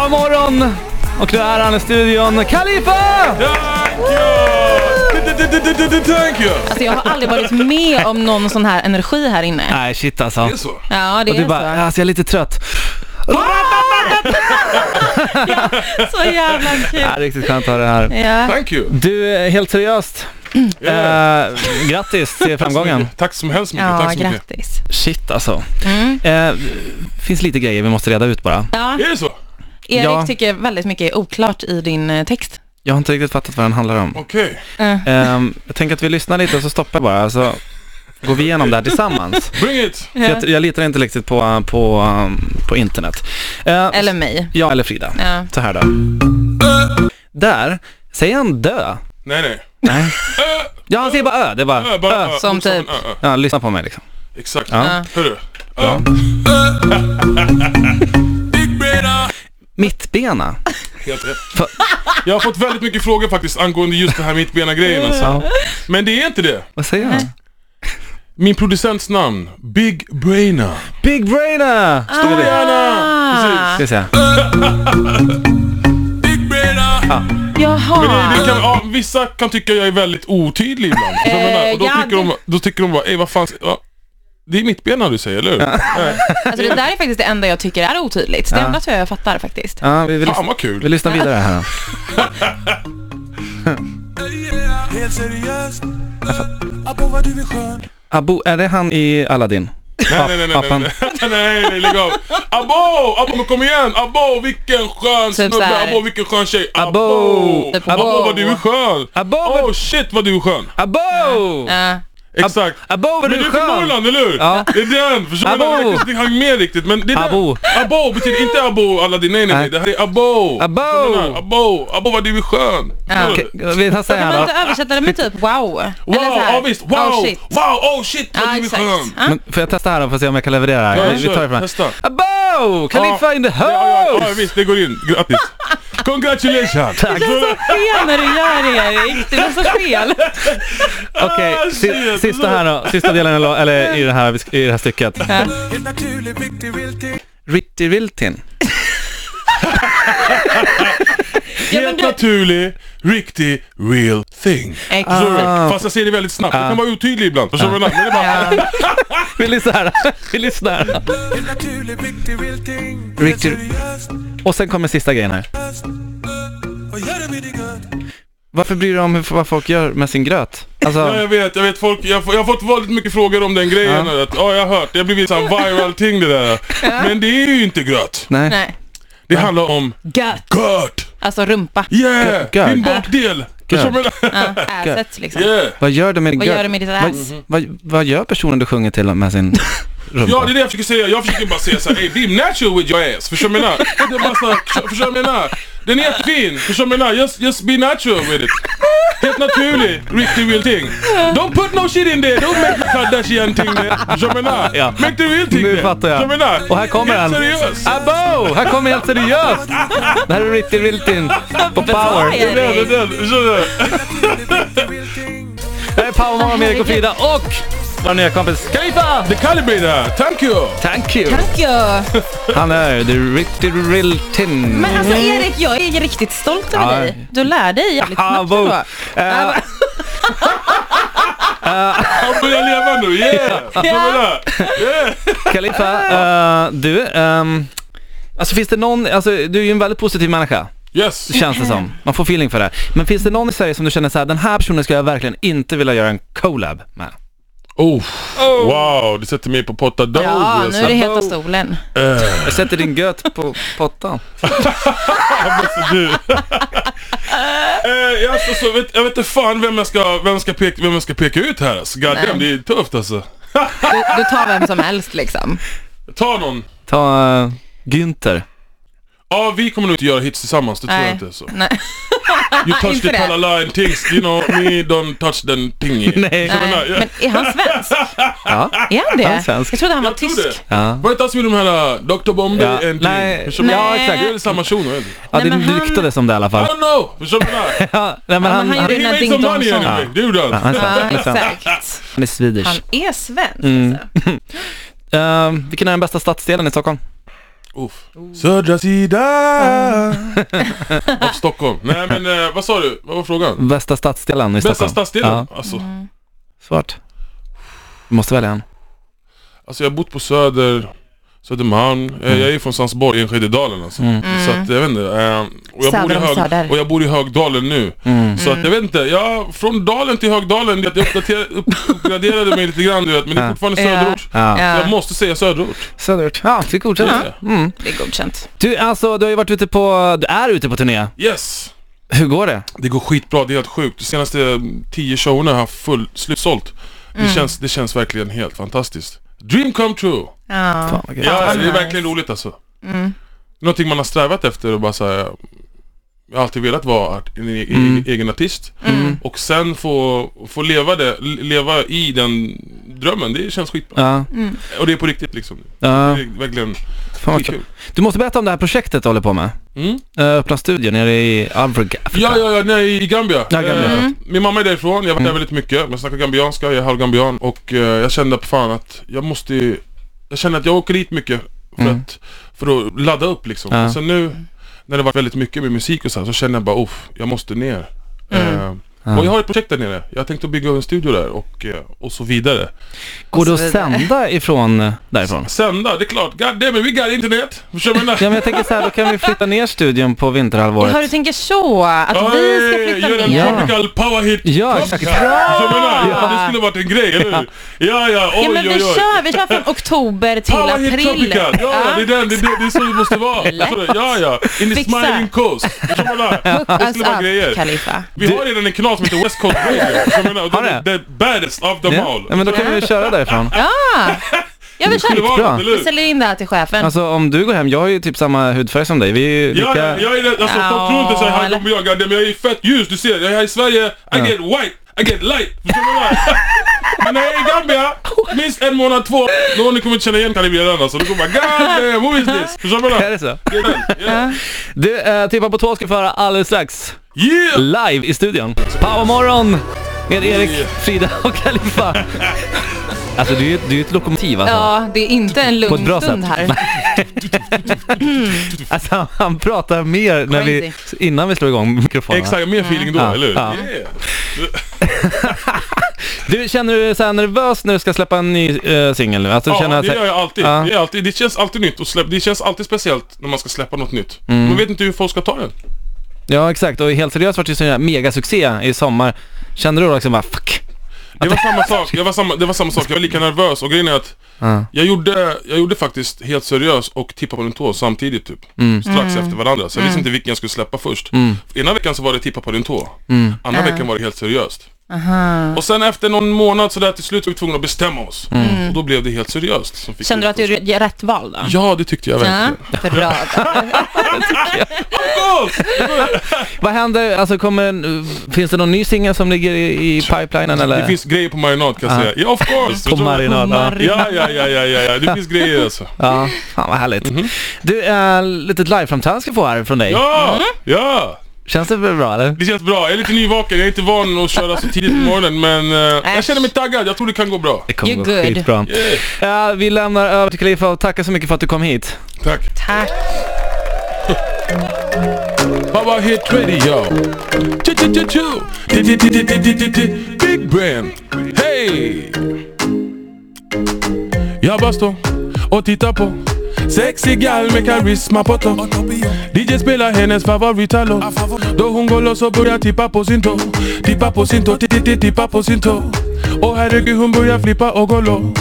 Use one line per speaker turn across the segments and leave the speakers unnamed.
Powermorgon! Och det är han i studion, Kalifa!
Thank you! Thank you!
Alltså jag har aldrig varit med om någon sån här energi här inne.
Nej, shit alltså.
Det är så.
Ja, det
Och du
är
bara, alltså jag är lite trött.
så. Så jävla
Ja,
kul.
riktigt skönt att ha det här.
Ja.
Thank you!
Du, eh, helt seriöst. Eh, grattis till framgången.
Tack så hemskt mycket.
Ja,
Tack så mycket.
grattis.
Shit alltså.
Mm.
Eh, finns lite grejer vi måste reda ut bara.
Ja,
Är det så?
Erik
Ja.
tycker väldigt mycket är oklart i din eh, text.
Jag har inte riktigt fattat vad den handlar om.
Okej.
Eh,
Ehm, jag tänker att vi lyssnar lite och så stoppar jag bara, så går vi igenom det här tillsammans.
Bring it!
För
ja.
Jag, jag litar inte riktigt på, på, um, på internet. Ehm,
Eller mig.
Ja, eller Frida.
Ja.
Så här då. Där säger han dö.
Nej, nej.
Nej.
Ö,
Ja, han säger bara ö. Det är bara
ö, bara,
ö.
ö,
Som
bokstaven
typ.
ö, ö.
Ja, lyssna på mig liksom.
Exakt.
Ja.
Hörru. Ö. Big Breda!
Mittbena.
Helt rätt.
Fa-
Jag har fått väldigt mycket frågor faktiskt angående just det här mittbena-grejen alltså.
Ja.
Men det är inte det.
Vad säger han?
Min producents namn, Big Braina.
Big braina! Står det.
Gärna!
Ah,
Ska vi se.
Big Braina! Men
jaha.
det, det kan, ja, vissa kan tycka jag är väldigt otydlig ibland. Så jag menar, och då,
Eh, ja,
tycker de, då tycker de bara, ey vad fan, ja, det är mittbena du säger, eller hur?
Alltså det där är faktiskt det enda jag tycker är otydligt. Det enda tror jag jag fattar faktiskt.
Ja, vi, vi, lys-
Fan vad
vi
kul!
lyssnar vidare här då.
Helt seriöst Abbo vad du är skön
Abu, är det han i Aladdin?
Nej, nej, nej, nej, nej,
Pappan.
nej, nej, nej, lägg av! Abo! Abo, men kom igen! Abo, vilken skön
Typ så
snubbe!
här.
Abo, vilken skön tjej! Abo!
Typ
Abo,
abo.
vad du är skön!
Abo, vad-
Oh shit vad du är skön!
Abo!
Ja.
Exakt!
Abo, vad
Men
du
du
är
är från
skön!
Norrland, eller hur?
Ja.
Det är den! Förstår du?
Abo.
Jag kanske inte hang med riktigt, men det är
Abo.
den. Abo betyder inte abo Aladdin, nej nej nej.
Nej.
Det här är abo.
Abo.
Förstår du den här? Abo, abo vad du är skön. Förstår du?
Okej, Vi tar sen
Kan
här
man
då.
inte översätta det med typ wow?
Wow,
så här,
ja visst. Wow,
Oh, shit.
wow, oh shit vad
Ja,
du är
exakt.
skön.
Ja.
Men får jag testa här då för att se om jag kan leverera det
Ja,
här? Vi, vi
kör.
tar det från
Testa.
här. Abo! Khalifa in the
Ja, ja, ja,
house!
visst det går in. Grattis. Congratulations. Tack.
fel när du gör det Erik, det är så fel.
Okej,
Ah,
si-
shit.
sista här då. Sista delen i la- eller i det här, i det här stycket.
Helt naturlig, viktig, viltig
Ritti Viltin.
Helt naturlig, riktig, real thing. Förstår du?
Ah.
Fast jag säger det väldigt snabbt. Jag kan vara otydlig ibland. Förstår du? vad jag menar? Men det är bara-
Vi lyssnar här. Vi lyssnar här.
Helt naturlig, viktig, viltig Helt
Riktig-
seriöst
Och sen kommer sista grejen här.
Och gör det med din gött
Varför bryr du dig om hur, vad folk gör med sin gröt?
Ja,
Alltså,
jag vet, jag vet folk, jag, får- jag har fått väldigt mycket frågor om den grejen. Ja, att, ja jag har hört, det har blivit en viral ting det där. Men det är ju inte gröt.
nej.
Nej,
Det handlar om
gött.
gört!
Alltså rumpa.
Yeah!
Gört.
Din bakdel! Förstår du vad jag menar?
Ja, asset liksom.
Yeah!
Vad gör du med din
Vad
gröt?
gör du med ditt
Vad,
ass?
vad, vad gör personen du sjunger till med sin rumpa?
Ja, det är det jag försöker säga. Jag försöker bara säga såhär, hey, be natural with your ass. Förstår du vad jag menar? Det är bara så här, förstår- Förstår du vad jag menar? Den är jättefin. Förstår du vad jag menar? Just, just be natural with it. Helt naturlig, riktig real thing. Don't put no shit in there. Don't make the Kardashian thing there. Förstår du vad jag menar?
Ja.
Make the real thing
Nu
there.
fattar jag.
Förstår du vad menar?
Och här kommer han.
Helt seriöst.
Abo! Här kommer helt seriöst! Det här är Ritti Viltin på Power.
Bra,
Det är den,
Erik.
det är den. Förstår du?
Det här är Power med Erik och Frida och vår nya kompis Kalifa!
The Calibrator, thank you!
Thank you!
Tack ja.
Han är the Ritti Viltin.
Men alltså Erik, jag är riktigt stolt över
Ja.
dig. Du lär dig jävligt snabbt
Abo!
ändå.
Ah,
Ah,
Eh,
Han börjar leva nu, yeah! Förstår du vad jag menar? Yeah!
Kalifa, eh, du, ehm, alltså finns det någon, alltså du är ju en väldigt positiv människa,
Yes!
känns det som. Man får feeling för det. här. Men finns det någon i Sverige som du känner så här, den här personen skulle jag verkligen inte vilja göra en collab med?
Oh. Wow, du sätter mig på potta dog. alltså. Eh.
Ja, nu är det
Abo.
heta stolen.
Jag sätter din göt på pottan.
Du. eh, alltså, så vet, jag vet inte fan vem jag ska, vem ska, peka, vem jag ska peka ut här alltså. God damn, det är tufft alltså.
Du, du tar vem som helst liksom.
Ta någon.
Ta eh, Günther.
Ja, vi kommer nog inte göra hits tillsammans, det tror jag
Nej.
inte. Så.
Nej.
You touch
Inte
the
det.
palaline things, you know, me don't touch den thingy.
Nej.
Så jag menar,
Nej.
jag-
Men är han svensk?
Ja.
Är han det?
Han är svensk.
Jag trodde han var
Jag tror
tysk.
det.
Ja.
Var det inte han som gjorde de här uh, Dr Bombay
Ja.
and
Nej.
Förstår du?
Ja,
Det är
exakt.
väl samma person, eller? I
Ja, det
men han-
luktade som det i alla fall.
don't know, förstår du vad jag menar?
Ja, nej, men
Ja,
han,
men han
han,
gjorde-
He
Den här
made
Ding
some
Dong
money
Song.
anyway, det gjorde
han,
han.
är
Ja,
svensk, han är svensk.
exakt.
Han är swedish. Mm.
Han är svensk alltså.
Ehm, Eh, vilken är den bästa stadsdelen i Stockholm?
Uff. Södra sidan av Stockholm. Nej men eh, vad sa du? Vad var frågan?
Bästa stadsdelen i
Bästa
Stockholm.
stadsdelen? Alltså,
svårt. Du måste välja en.
alltså jag har bott på Söder, Södermalm. Eh, Jag är ju från Sandsborg, Enskededalen alltså. Så att jag vet inte. eh, Och Mm. jag, bor i
Söder om
hög,
Söder.
och jag bor i Högdalen nu.
Mm.
Så att jag vet inte. Jag, från Dalen till Högdalen, det- jag uppdaterade, upp- uppgraderade mig lite grann du vet. Men det är
Ja.
fortfarande
Ja.
söderort.
Ja.
Så jag
Ja,
måste säga söderort.
Söderort. Ja, fick godkänt. Mm.
det är godkänt.
Du, alltså, du har ju varit ute på, du är ute på turné.
Yes!
Hur går det?
Det går skitbra, det är helt sjukt. De senaste mm, tio showerna har jag full, slutsålt. Det,
Mm.
känns, det känns verkligen helt fantastiskt. Dream come true!
Ja. Mm.
Fan, vad
Ja,
gött.
det är
nice.
verkligen roligt alltså. Någonting man har strävat efter och bara såhär Jag har alltid velat vara art- en e-
Mm.
e- egen artist
Mm.
och sen få, få leva, det, leva i den drömmen, det känns skitbra.
Ja,
Och det är på riktigt liksom.
ja.
Det är verkligen
Fan, vad kul.
skitkul.
Du måste berätta om det här projektet du håller på med.
Mm.
Eh, Öppna studion nere i Afrika.
Ja, ja, ja, nej, i Gambia.
Ja, Gambia. Mm.
Eh, Min mamma är därifrån, jag har varit där väldigt mycket, men jag snackar gambianska, jag är halvgambian och eh, jag kände på fan att jag måste ju- Jag kände att jag åker dit mycket för,
Mm.
att, för att ladda upp liksom.
Ja.
Och sen nu när det varit väldigt mycket med musik och så här, så kände jag bara uff, jag måste ner.
Mm.
Eh,
Ja.
Och jag har ett projekt där nere, jag tänkte bygga en studio där och, eh, och så vidare.
Går det
Och så
att
vidare.
sända ifrån eh, därifrån?
Sända, det är klart, god damn it, we got internet! Förstår du vad jag
Ja,
menar?
men jag tänker så här, då kan vi flytta ner studion på vinterhalvåret.
Jaha, du tänker så. Att vi ska
Oj,
flytta
Gör en
Ja.
ner.
tropical power hit!
Ja, exakt.
Podcast. Jag menar,
Ja.
Det skulle varit en grej, eller hur? Ja, ja, oj,
Ja, men vi
oj, oj.
kör, vi kör från oktober till
Power hit
april.
tropical! Ja, ja, det är, den, det, är, det är så det måste vara.
Lätt.
Förstår du? Ja, ja. In the
Fixa.
smiling coast. Förstår du vad jag menar?
Hook
Alltså,
Det
us
skulle vara
up,
grejer.
Khalifa.
Vi har redan en kanal som heter West Coast Radio. Förstår du vad jag
Har
menar?
det?
The baddest of them
Ja,
all.
ja, men då kan vi ju köra därifrån.
Ja, jag vill
skulle
köra.
vara
Bra.
något, eller
Vi
hur?
säljer in det här till chefen.
Alltså om du går hem, jag har ju typ samma hudfärg som dig. Vi är ju
Ja, ja,
lika...
jag är det. Alltså folk tror inte såhär, han
eller?
kommer jag, goddamn, jag är fett ljus, du ser. Jag är här i Sverige, I get white, I get light. Förstår du vad jag menar? Men när jag är i Gambia, minst en månad, två, då har ni kommer inte känna igen Kalibiran alltså. Du kommer bara, goddamn, who is this? Förstår du vad jag
Är
menar?
det så?
Det är den, yeah.
Du, eh, Tippa på två ska få höra alldeles strax.
Yeah!
Live i studion. Powermorgon med Erik, Frida och Kalifa. Alltså du är ju det är ju ett lokomotiv alltså.
Ja, det är inte en
På ett
lugn
bra
stund
sätt.
här.
Alltså han, han pratar mer när vi, innan vi slår igång mikrofonerna.
Exakt, mer feeling då,
Ja,
eller hur?
ja.
Yeah.
Du, känner du dig så här nervös när du ska släppa en ny eh, singel nu? Att du känner
Ja,
att,
det gör jag alltid.
Ja.
Det, är alltid. det känns alltid nytt och släpp, det känns alltid speciellt när man ska släppa något nytt.
Mm.
Man vet inte hur folk ska ta den.
Ja exakt, och helt seriöst vart det ju sån här megasuccé i sommar. Kände du då liksom bara fuck?
Det var samma sak, det var samma, det var samma sak. Jag var lika nervös och grejen är att
Ja.
Jag gjorde, jag gjorde faktiskt helt seriös och tippa på din tå samtidigt typ.
Mm.
Strax efter varandra. Så jag visste inte vilken jag skulle släppa först. Ena veckan så var det tippa på din tå.
Mm.
Andra veckan var det helt seriöst. Och sen efter någon månad sådär till slut var vi tvungna att bestämma oss.
Mm.
Och då blev det helt seriöst. Som fick
Känner du
det
att du
först.
gör rätt val då?
Ja, det tyckte jag
Ja,
verkligen.
bra.
Skål!
Vad händer, alltså kommer, finns det någon ny singel som ligger i, i pipelinen eller?
Det finns grejer på marinad kan jag
Ja.
säga. Ja, of course!
På marinad, ja.
Ja, ja, ja, ja, ja, ja. Det finns grejer alltså.
Ja, fan vad härligt. Du, äh, litet liveframträdande ska jag få här från dig.
Mhm. Ja, ja!
Känns det väl bra eller?
Det känns bra, jag är lite nyvaken, jag är inte van att köra så tidigt på morgonen men eh, jag känner mig taggad, jag tror det kan gå bra.
Det kommer gå
You're good.
skitbra.
Yeah.
Äh, vi lämnar över till Khalifa och tackar så mycket för att du kom hit.
Tack.
Tack.
Baba Hit Radio. Choo-choo-choo-choo. Di-di-di-di-di-di-di-di. Big Brand. Hey! Jag bara står och tittar på Sexig gal med karisma på topp DJ spelar hennes favorita låt Då hon går loss och börjar tippa på sin tå Tippa på sin tå, titti tippa på sin tå Och herregud hon börjar flippa och gå low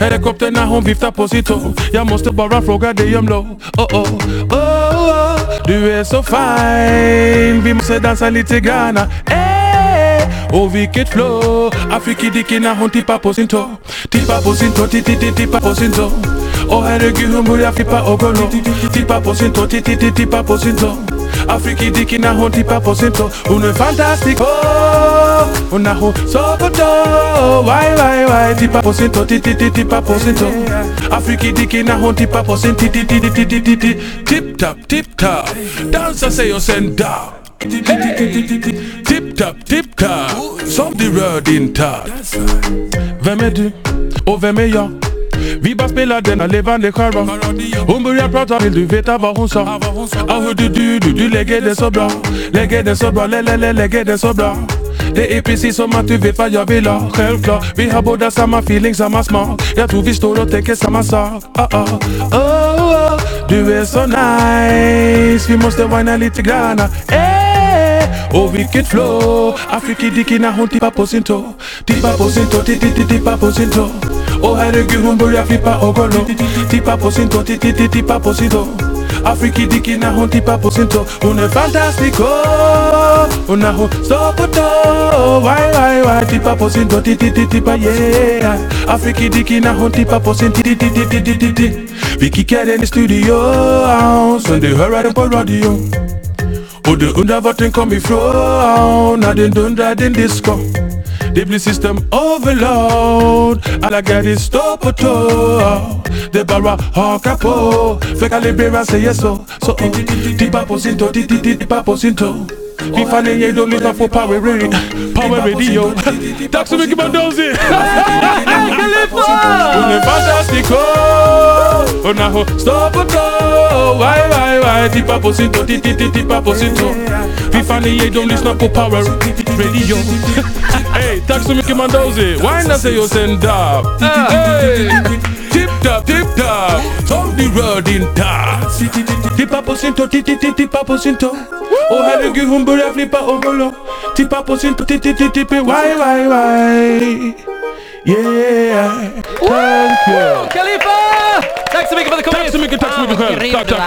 Helikoptern när hon viftar på sin tå Jag måste bara fråga dig om lov oh, oh. Oh, oh. Du är så fin Vi måste dansa lite granna eh. Och vilket flow Afriki Dicki när hon tippar på sin tå Tippar på sin tå, titti titti, tippar på sin tå Och herregud hon börjar flippa och gå low Tippar på sin tå, titti titti, tippar på sin tå Afriki Dicki när hon tippar på sin tå Hon är fantastisk oh. Och när hon sover då Why, why, why Tippar på sin tå, titti titti, tippar på sin tå Afriki Dicki när hon tippar på sin titti titti, titti titti Tipp tapp, tipp tapp Dansa sig och sen dapp Tipp tapp, tipp tapp Som du rör din tapp vem är du? Och vem är jag? Vi bara spelar denna levande skärva
Radio,
Hon börjar prata, vill du veta vad hon sa?
ah, vad hon sa
Ah hör du du du, du lägger det så bra Lägger det så bra, lä, lä, lä, lägger det så bra Det är precis som att du vet vad jag vill ha, självklart Vi har båda samma feeling, samma smak Jag tror vi står och tänker samma sak ah, ah. Oh, oh. Du är så nice, vi måste whina lite granna eh. Och vilket flow, Afriki Dicki när hon tippar på sin tå Tippar på sin tå, titti titti tippar på sin tå Åh herregud hon börjar flippa och gå low Tippar på sin tå, titti titti tippar på sin tå Afriki Dicki när hon tippar på sin tå Hon är fantastisk åh! Och när hon står på tå Why, why, why Tippar på sin tå, titti, titti, tippa, yeah Afriki Dicki när hon tippar på sin titti, titti, titti, titti Vi kickar den i studion Sen du hör den på radion och du undrar vart den kom ifrån när den dundrar din disco Det blir system overload Alla gadgets står på tå Det bara haka på För kalibrera säger så Så oh. tippa på sin tå, ti- ti- ti- tippa på sin tå Fy fan, ni är dåliga lyssnar på Power Radio. Power Radio. Tack så mycket Bandozzi! Hon är fantastisk åh. Och när hon står på tå Why, why, why Tippa på sin tå, ti- ti- ti- tippa på sin tå Fy fan ni ej, de lyssnar på power radio Ey, tack så mycket Mandozi Winda sig och sen dab Ey, tipp dab, tipp dab Som du rör din tass Tippa på sin tå, ti- ti- ti- tippa på sin tå Åh herregud hon börjar flippa och gå low Tippa på sin tå, ti- ti- ti- tippa Why, why, why Yeah, thank you
Kalifa! Tack så mycket för att du kom
Tack så mycket, tack så mycket
Fan, vad
själv.
grym
Tack,
du
tack,